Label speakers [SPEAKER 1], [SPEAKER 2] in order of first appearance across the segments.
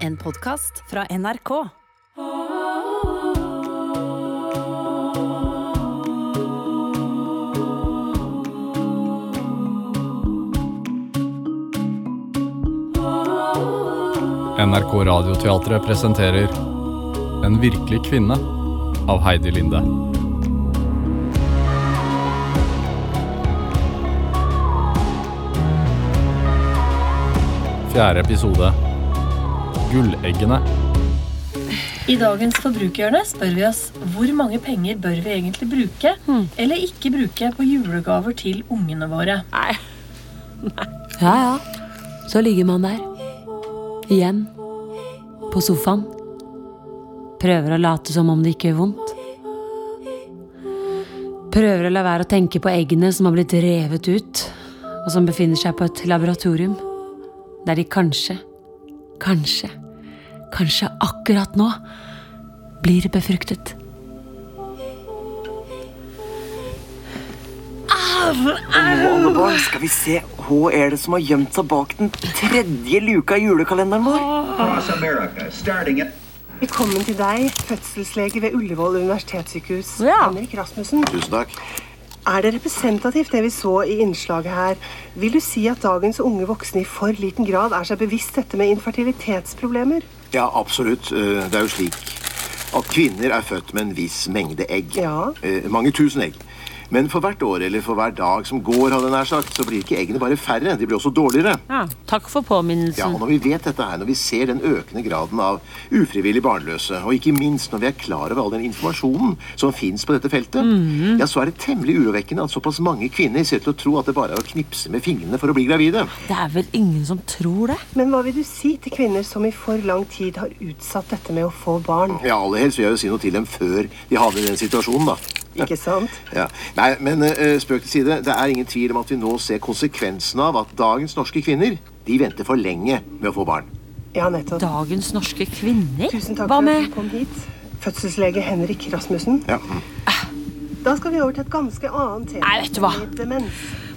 [SPEAKER 1] En podkast fra NRK.
[SPEAKER 2] NRK Radioteatret presenterer En virkelig kvinne av Heidi Linde. Fjerde episode Gulleggene.
[SPEAKER 3] I dagens Forbrukerhjørne spør vi oss hvor mange penger bør vi egentlig bruke eller ikke bruke på julegaver til ungene våre.
[SPEAKER 4] Ja, ja. Så ligger man der. Igjen. På sofaen. Prøver å late som om det ikke gjør vondt. Prøver å la være å tenke på eggene som har blitt revet ut, og som befinner seg på et laboratorium. Der de kanskje, kanskje, kanskje akkurat nå blir befruktet.
[SPEAKER 5] Barnebarn, skal vi se hva er det som har gjemt seg bak den tredje luka i julekalenderen vår?
[SPEAKER 6] across America, starting at
[SPEAKER 7] Velkommen til deg, fødselslege ved Ullevål universitetssykehus. Henrik Rasmussen.
[SPEAKER 8] Tusen takk.
[SPEAKER 7] Er det representativt det vi så i innslaget her? Vil du si at dagens unge voksne i for liten grad er seg bevisst dette med infertilitetsproblemer?
[SPEAKER 8] Ja, absolutt. Eh, Det er jo slik at kvinner er født med en viss mengde egg.
[SPEAKER 7] Ja.
[SPEAKER 8] Eh, Mange tusen egg. Men for hvert år eller for hver dag som går, hadde jeg nær sagt, så blir ikke eggene bare færre, de blir også dårligere.
[SPEAKER 9] Ja, takk for
[SPEAKER 8] Ja,
[SPEAKER 9] påminnelsen.
[SPEAKER 8] og Når vi vet dette her, når vi ser den økende graden av ufrivillig barnløse, og ikke minst når vi er klar over all den informasjonen som fins på dette feltet,
[SPEAKER 9] Mhm.
[SPEAKER 8] ja, så er det temmelig urovekkende at såpass mange kvinner ser ut til å tro at det bare er å knipse med fingrene for å bli gravide.
[SPEAKER 9] Det er vel ingen som tror det?
[SPEAKER 7] Men hva vil du si til kvinner som i for lang tid har utsatt dette med å få barn?
[SPEAKER 8] Ja, aller helst vil jeg jo si noe til dem før de havner i den situasjonen, da.
[SPEAKER 7] Ikke sant?
[SPEAKER 8] Ja. Nei, men eh, spøk til side. Det er ingen tvil om at vi nå ser konsekvensen av at dagens norske kvinner de venter for lenge med å få barn.
[SPEAKER 7] Ja, nettopp.
[SPEAKER 9] Dagens norske kvinner?
[SPEAKER 7] Tusen takk
[SPEAKER 9] Hva
[SPEAKER 7] for at
[SPEAKER 9] med
[SPEAKER 7] du kom hit. Fødselslege Henrik Rasmussen.
[SPEAKER 8] Ja. Mm.
[SPEAKER 7] Da skal vi over til et ganske annet tema.
[SPEAKER 9] Nei, vet du hva?
[SPEAKER 7] nemlig Demens.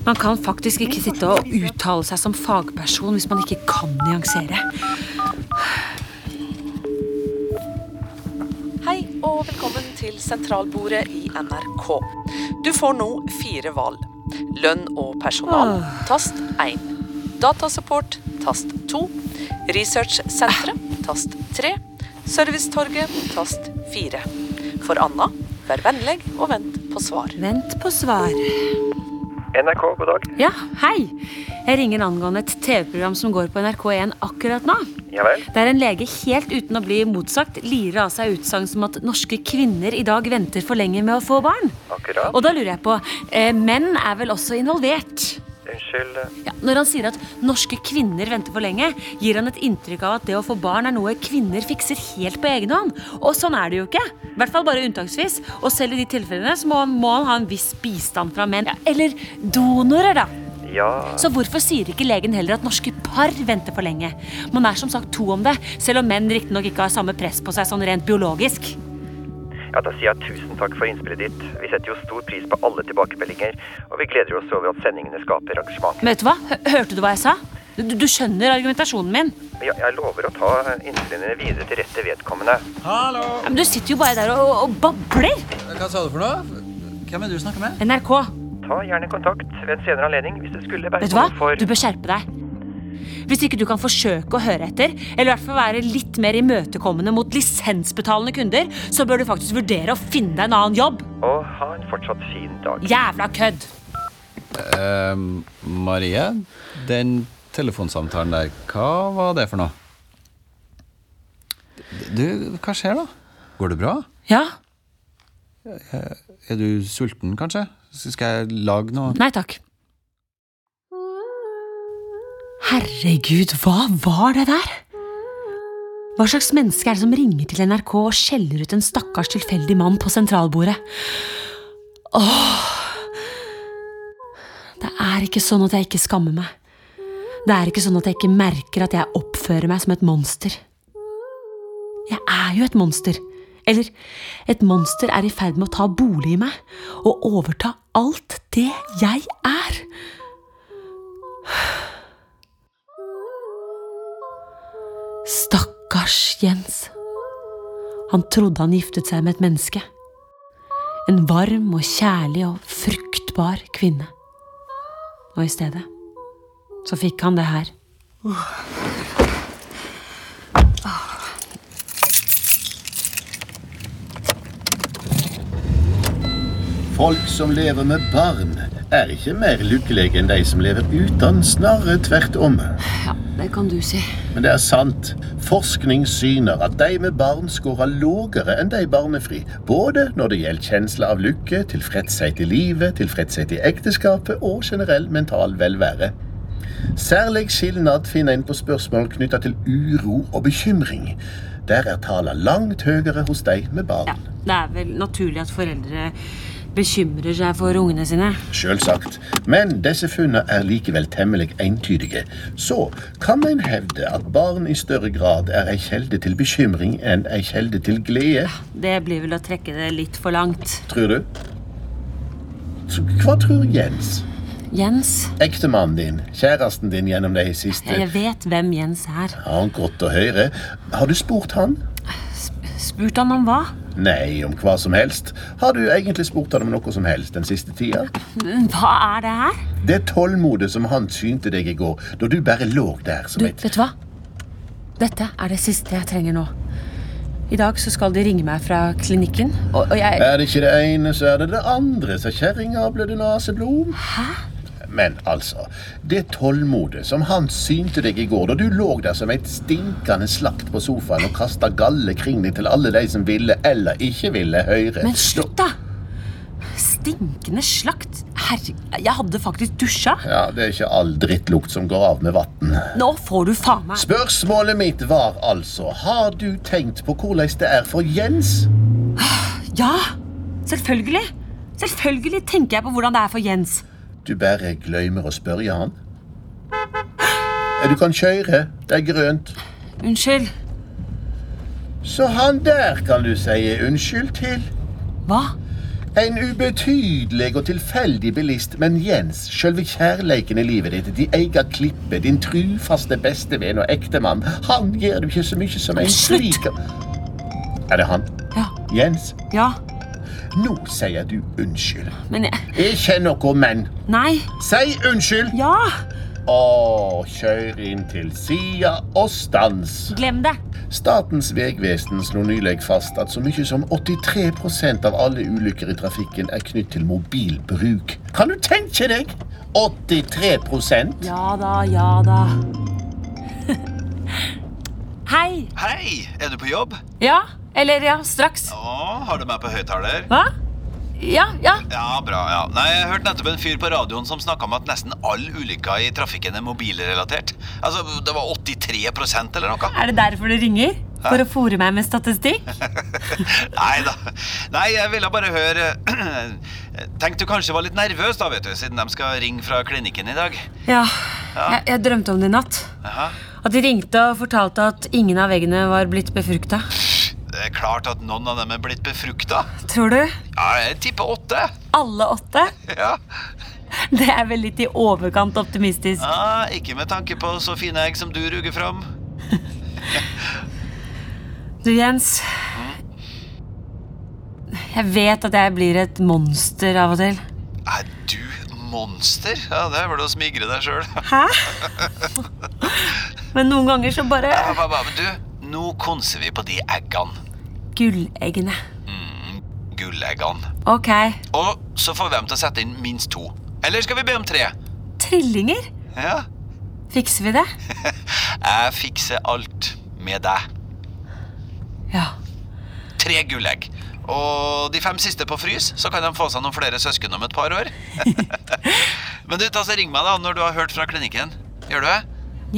[SPEAKER 9] Man kan faktisk ikke sitte og uttale seg som fagperson hvis man ikke kan nyansere.
[SPEAKER 10] Hei og velkommen til sentralbordet i NRK. Du får nå fire valg. Lønn og personal,
[SPEAKER 11] Ah.
[SPEAKER 10] tast 1. Datasupport, tast 2. Researchsenteret, tast 3. Servicetorget, tast 4. For Anna, vær vennlig og vent på svar.
[SPEAKER 9] Vent på svar.
[SPEAKER 6] NRK, god dag.
[SPEAKER 9] Ja, hei. Jeg ringer angående et TV-program som går på NRK1 akkurat nå.
[SPEAKER 6] Ja vel.
[SPEAKER 9] Der en lege helt uten å bli motsagt lirer av seg utsagn som at norske kvinner i dag venter for lenge med å få barn.
[SPEAKER 6] Akkurat.
[SPEAKER 9] Og da lurer jeg på eh, Menn er vel også involvert?
[SPEAKER 6] Unnskyld. eh,
[SPEAKER 9] Ja, når han sier at norske kvinner venter for lenge, gir han et inntrykk av at det å få barn er noe kvinner fikser helt på egen hånd. Og sånn er det jo ikke. I hvert fall bare unntaksvis. Og selv i de tilfellene så må han, må han ha en viss bistand fra menn. Eller donorer, da.
[SPEAKER 6] Ja.
[SPEAKER 9] Så hvorfor sier ikke legen heller at norske par venter for lenge? Man er som sagt to om det, selv om menn riktignok ikke har samme press på seg sånn rent biologisk.
[SPEAKER 6] ja, da sier jeg tusen takk for innspillet ditt. Vi setter jo stor pris på alle tilbakemeldinger, og vi gleder oss over at sendingene skaper engasjement.
[SPEAKER 9] Men vet du hva? Hø- Hørte du hva jeg sa? Du, du skjønner argumentasjonen min.
[SPEAKER 6] Ja, jeg lover å ta eh, innspillene videre til rette vedkommende.
[SPEAKER 9] Ja, men du sitter jo bare der og, og babler.
[SPEAKER 12] Hva sa du for noe? Hvem er det du snakker med?
[SPEAKER 9] NRK,
[SPEAKER 6] Ta gjerne kontakt ved en senere anledning hvis det skulle være
[SPEAKER 9] Vet du hva?
[SPEAKER 6] behov for
[SPEAKER 9] Du bør skjerpe deg. Hvis ikke du kan forsøke å høre etter, eller i hvert fall være litt mer imøtekommende mot lisensbetalende kunder, så bør du faktisk vurdere å finne deg en annen jobb.
[SPEAKER 6] Og ha en fortsatt fin dag.
[SPEAKER 9] Jævla kødd!
[SPEAKER 2] Ehm, Marie, den telefonsamtalen der, hva var det for noe? Du, hva skjer da? Går det bra?
[SPEAKER 9] Ja?
[SPEAKER 2] Er du sulten, kanskje? Skal jeg lage noe?
[SPEAKER 9] Nei takk. Herregud, hva var det der? Hva slags menneske er det som ringer til NRK og skjeller ut en stakkars tilfeldig mann på sentralbordet? Åh Det er ikke sånn at jeg ikke skammer meg. Det er ikke sånn at jeg ikke merker at jeg oppfører meg som et monster. Jeg er jo et monster. Eller, et monster er i ferd med å ta bolig i meg og overta alt det jeg er. Stakkars Stakkars Jens. Han trodde han giftet seg med et menneske. En varm og kjærlig og fruktbar kvinne. Og i stedet så fikk han det her.
[SPEAKER 8] Folk som lever med barn, er ikke mer lykkelige enn de som lever uten, snarere tvert om.
[SPEAKER 9] Ja, det kan du si.
[SPEAKER 8] Men det er sant. Forskning syner at de med barn scorer lavere enn de barnefri. Både når det gjelder kjensle av lykke, tilfredshet i livet, tilfredshet i ekteskapet og generell mental velvære. Særlig skilnad finner en på spørsmål knytta til uro og bekymring. Der er tallene langt høyere hos de med barn.
[SPEAKER 9] Det er vel naturlig at foreldre bekymrer seg for ungene sine.
[SPEAKER 8] Selvsagt. Men disse funnene er likevel temmelig entydige. Så kan en hevde at barn i større grad er ei kjelde til bekymring enn ei kjelde til glede.
[SPEAKER 9] Det blir vel å trekke det litt for langt.
[SPEAKER 8] Tror du? Så Hva tror Jens?
[SPEAKER 9] Jens?
[SPEAKER 8] Ektemannen din, kjæresten din gjennom de siste
[SPEAKER 9] Jeg vet hvem Jens er.
[SPEAKER 8] Har han gått og høre? Har du spurt han?
[SPEAKER 9] Spurte han om hva?
[SPEAKER 8] Nei, om hva som helst. Har du egentlig spurt han om noe som helst den siste tida?
[SPEAKER 9] Hva er det her?
[SPEAKER 8] Det tålmodet som han synte deg i går, da du bare lå der som
[SPEAKER 9] Du,
[SPEAKER 8] et
[SPEAKER 9] vet du hva? Dette er det siste jeg trenger nå. I dag så skal de ringe meg fra klinikken, og, og jeg
[SPEAKER 8] Er det ikke det ene, så er det det andre, sa kjerringa og blødde naseblom.
[SPEAKER 9] Hæ?
[SPEAKER 8] Men altså, det tålmodet som han synte deg i går, da du lå der som et stinkende slakt på sofaen og kasta galle kring deg til alle de som ville eller ikke ville høre
[SPEAKER 9] Men slutt, da! Stinkende slakt. Herre, jeg hadde faktisk dusja.
[SPEAKER 8] Ja, Det er ikke all drittlukt som går av med vann.
[SPEAKER 9] Nå får du faen meg
[SPEAKER 8] Spørsmålet mitt var altså Har du tenkt på hvordan det er for Jens?
[SPEAKER 9] Ja! Selvfølgelig! Selvfølgelig tenker jeg på hvordan det er for Jens.
[SPEAKER 8] Du bare glemmer å spørre han. Du kan kjøre. Det er grønt.
[SPEAKER 9] Unnskyld.
[SPEAKER 8] Så han der kan du si unnskyld til.
[SPEAKER 9] Hva?
[SPEAKER 8] En ubetydelig og tilfeldig bilist, men Jens, selve kjærleiken i livet ditt, din egen klippe, din trufaste bestevenn og ektemann, han gir du ikke så mye som en
[SPEAKER 9] Slutt!
[SPEAKER 8] slik Er det han?
[SPEAKER 9] Ja.
[SPEAKER 8] Jens?
[SPEAKER 9] Ja.
[SPEAKER 8] Nå sier du unnskyld.
[SPEAKER 9] Men jeg
[SPEAKER 8] Ikke noe men.
[SPEAKER 9] Nei.
[SPEAKER 8] Si unnskyld.
[SPEAKER 9] Ja!
[SPEAKER 8] Og kjør inn til sida og stans.
[SPEAKER 9] Glem det.
[SPEAKER 8] Statens vegvesen slo nylig fast at så mye som 83 av alle ulykker i trafikken er knytt til mobilbruk. Kan du tenke deg? 83
[SPEAKER 9] Ja da, ja da. Hei.
[SPEAKER 2] Hei, er du på jobb?
[SPEAKER 9] Ja? Eller ja, straks.
[SPEAKER 2] Å, har du meg på høyttaler?
[SPEAKER 9] Hva? Ja, ja.
[SPEAKER 2] Ja, bra, ja. Nei, jeg hørte nettopp en fyr på radioen som snakka om at nesten all ulykker i trafikken er mobilrelatert. Altså, det var 83 eller noe.
[SPEAKER 9] Er det derfor du ringer? For å fòre meg med statistikk?
[SPEAKER 2] Nei da. Nei, jeg ville bare høre Tenkte du kanskje var litt nervøs, da, vet du, siden de skal ringe fra klinikken i dag.
[SPEAKER 9] Ja. Jeg, jeg drømte om det i natt.
[SPEAKER 2] Jaha.
[SPEAKER 9] At de ringte og fortalte at ingen av veggene var blitt befrukta.
[SPEAKER 2] Det er klart at noen av dem er blitt befrukta.
[SPEAKER 9] Tror du?
[SPEAKER 2] Ja, jeg tipper åtte.
[SPEAKER 9] Alle åtte?
[SPEAKER 2] Ja.
[SPEAKER 9] Det er vel litt i overkant optimistisk.
[SPEAKER 2] Ja, ikke med tanke på så fine egg som du ruger fram.
[SPEAKER 9] Du, Jens. Jeg vet at jeg blir et monster av og til.
[SPEAKER 2] Er du monster? Ja, det er vel å smigre deg sjøl.
[SPEAKER 9] Hæ? Men noen ganger så bare
[SPEAKER 2] Men du, nå konser vi på de eggene.
[SPEAKER 9] Gulleggene.
[SPEAKER 2] Gulleggene.
[SPEAKER 9] Ok.
[SPEAKER 2] Og så får vi dem til å sette inn minst to. Eller skal vi be om tre?
[SPEAKER 9] Trillinger?
[SPEAKER 2] Ja.
[SPEAKER 9] Fikser vi det?
[SPEAKER 2] Jeg fikser alt med deg.
[SPEAKER 9] Ja.
[SPEAKER 2] Tre gullegg. Og de fem siste på frys, så kan de få seg noen flere søsken om et par år. Men du, ta så ring meg da når du har hørt fra klinikken. Gjør du det?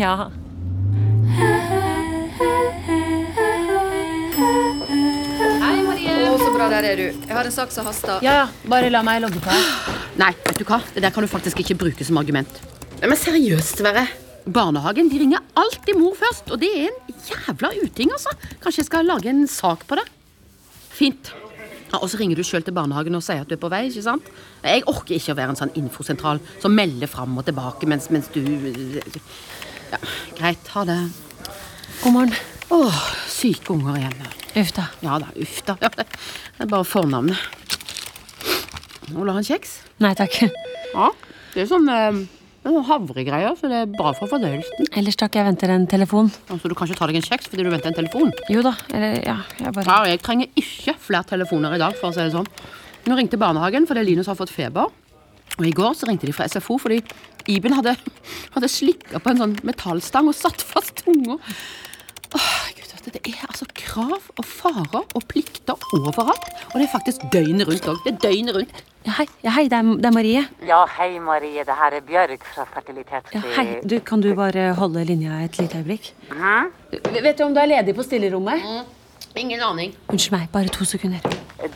[SPEAKER 9] Ja.
[SPEAKER 13] Hei, Marie. Å, så bra der er du. Jeg har en sak som haster.
[SPEAKER 11] Ja, ja, bare la meg logge på her. Nei, vet du hva? Det der kan du faktisk ikke bruke som argument. Men seriøst, Sverre. Barnehagen de ringer alltid mor først, og det er en jævla uting, altså. Kanskje jeg skal lage en sak på det? Fint. Ja, og så ringer du sjøl til barnehagen og sier at du er på vei. ikke sant? Jeg orker ikke å være en sånn infosentral som melder fram eh, og tilbake mens, mens du Ja, greit. Ha det. God morgen. Åh, syke unger igjen. Uff da. Ja da, uff da. Ja, det er bare fornavnet. Vil du ha en kjeks? Nei takk. Ja, det er sånn eh, det er sånn havregreier, så det er bra for fordøyelsen.
[SPEAKER 9] Ellers takk, jeg venter en telefon.
[SPEAKER 11] Altså, du kan ikke ta deg en kjeks fordi du venter en telefon?
[SPEAKER 9] Jo da, eller ja, jeg bare
[SPEAKER 11] Ja, og jeg trenger ikke flere telefoner i dag, for å si det sånn. Nå ringte barnehagen fordi Linus har fått feber. Og i går så ringte de fra SFO fordi Iben hadde, hadde slikka på en sånn metallstang og satt fast tunga. Åh, Gud, vet du, det er altså krav og farer og plikter overalt. Og det er faktisk døgnet rundt òg. Det er døgnet rundt.
[SPEAKER 9] Ja, hei, ja, hei det, er, det er Marie.
[SPEAKER 10] Ja, hei Marie, det her er Bjørg fra Fertilitetsby.
[SPEAKER 9] Ja, hei, du, Kan du bare holde linja et lite øyeblikk?
[SPEAKER 10] Hæ?
[SPEAKER 11] Vet du om du er ledig på stillerommet? Mm. Ingen aning.
[SPEAKER 9] Unnskyld meg, bare to sekunder.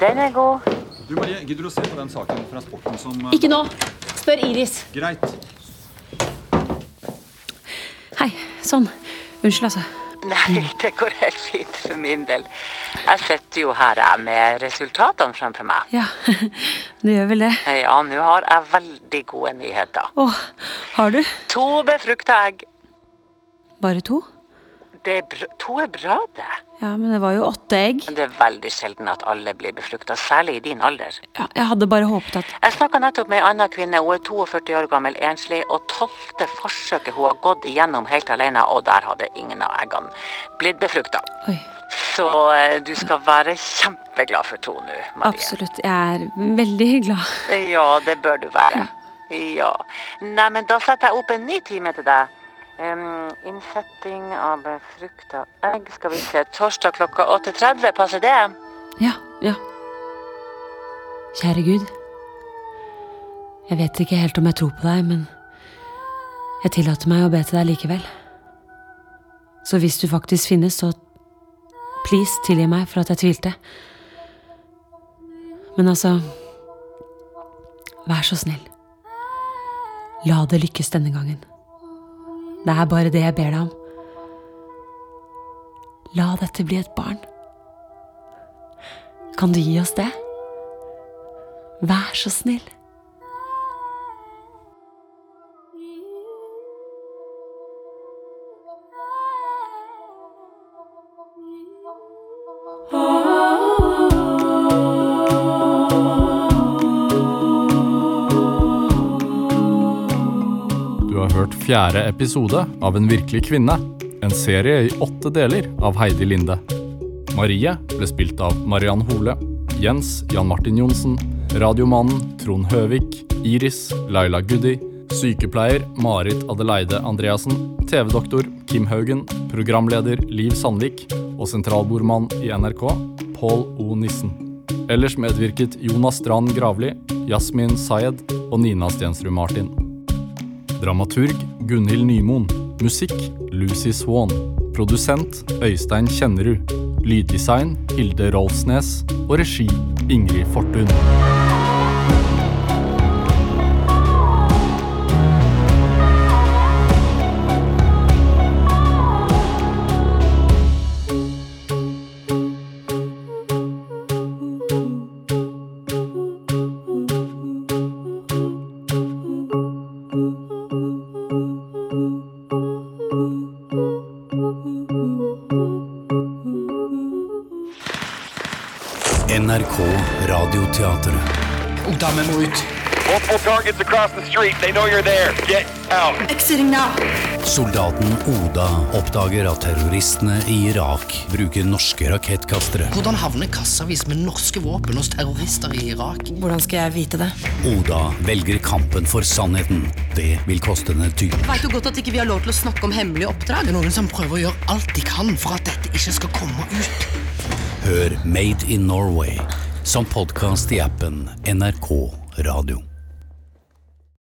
[SPEAKER 10] Den er god.
[SPEAKER 14] Du Marie, gidder du å se på den saken fra sporten som eh,
[SPEAKER 9] Ikke nå! Spør Iris.
[SPEAKER 14] Greit.
[SPEAKER 9] Hei. Sånn. Unnskyld, altså.
[SPEAKER 10] Nei, det går helt fint for min del. Jeg sitter jo her jeg, med resultatene fremfor meg.
[SPEAKER 9] Ja, du gjør vel det.
[SPEAKER 10] Ja, nå har jeg veldig gode nyheter.
[SPEAKER 9] Åh, har du?
[SPEAKER 10] To befrukta egg.
[SPEAKER 9] Bare to?
[SPEAKER 10] Det er br to er bra, det.
[SPEAKER 9] Ja, men det var jo åtte egg.
[SPEAKER 10] Men Det er veldig sjelden at alle blir befrukta, særlig i din alder.
[SPEAKER 9] Ja, jeg hadde bare håpet at
[SPEAKER 10] Jeg snakka nettopp med ei anna kvinne. Hun er 42 år gammel enslig, og tolvte forsøket hun har gått igjennom helt alene, og der hadde ingen av eggene blitt befrukta. Så eh, du skal være kjempeglad for to nå, Marie.
[SPEAKER 9] Absolutt. Jeg er veldig glad.
[SPEAKER 10] Ja, det bør du være. Ja. Nei, men da setter jeg opp en ny time til deg. Ehm, innsetting av befrukta egg skal vi se torsdag klokka 8.30. Passer det?
[SPEAKER 9] Ja, ja. Kjære Gud. Jeg vet ikke helt om jeg tror på deg, men jeg tillater meg å be til deg likevel. Så hvis du faktisk finnes, så please tilgi meg for at jeg tvilte. Men altså Vær så snill. La det lykkes denne gangen. Det er bare det jeg ber deg om. La dette bli et barn. Kan du gi oss det? Vær så snill.
[SPEAKER 7] Du har hørt fjerde episode av En virkelig kvinne, en serie i åtte deler av Heidi Linde. Marie ble spilt av Mariann Hole, Jens Jan Martin Johnsen, Radiomannen Trond Høvik, Iris Laila Guddi, sykepleier Marit Adeleide Andreassen, TV-doktor Kim Haugen, programleder Liv Sandvik og sentralbordmann i NRK Pål O. Nissen. Ellers medvirket Jonas Strand Gravli, Yasmin Sayed og Nina Stensrud Martin. Dramaturg Gunhild Nymoen. Musikk Lucy Swan. Produsent Øystein Kjennerud. Lyddesign Hilde Rolfsnes. Og regi Ingrid Fortun.
[SPEAKER 15] NRK Radioteatret.
[SPEAKER 16] Ungdommen må ut. Multiple targets across the street. They know you're there. Get out.
[SPEAKER 17] Exiting now.
[SPEAKER 15] Soldaten Oda oppdager at terroristene i Irak bruker norske rakettkastere.
[SPEAKER 18] Hvordan havner kassavis med norske våpen hos terrorister i Irak?
[SPEAKER 17] Hvordan skal jeg vite det?
[SPEAKER 15] Oda velger kampen for sannheten. Det vil koste henne dyrt.
[SPEAKER 18] Vet du godt at ikke vi har lov til å snakke om hemmelige oppdrag? Det er noen som prøver å gjøre alt de kan for at dette ikke skal komme ut.
[SPEAKER 15] Hør Made in Norway som podkast i appen NRK Radio.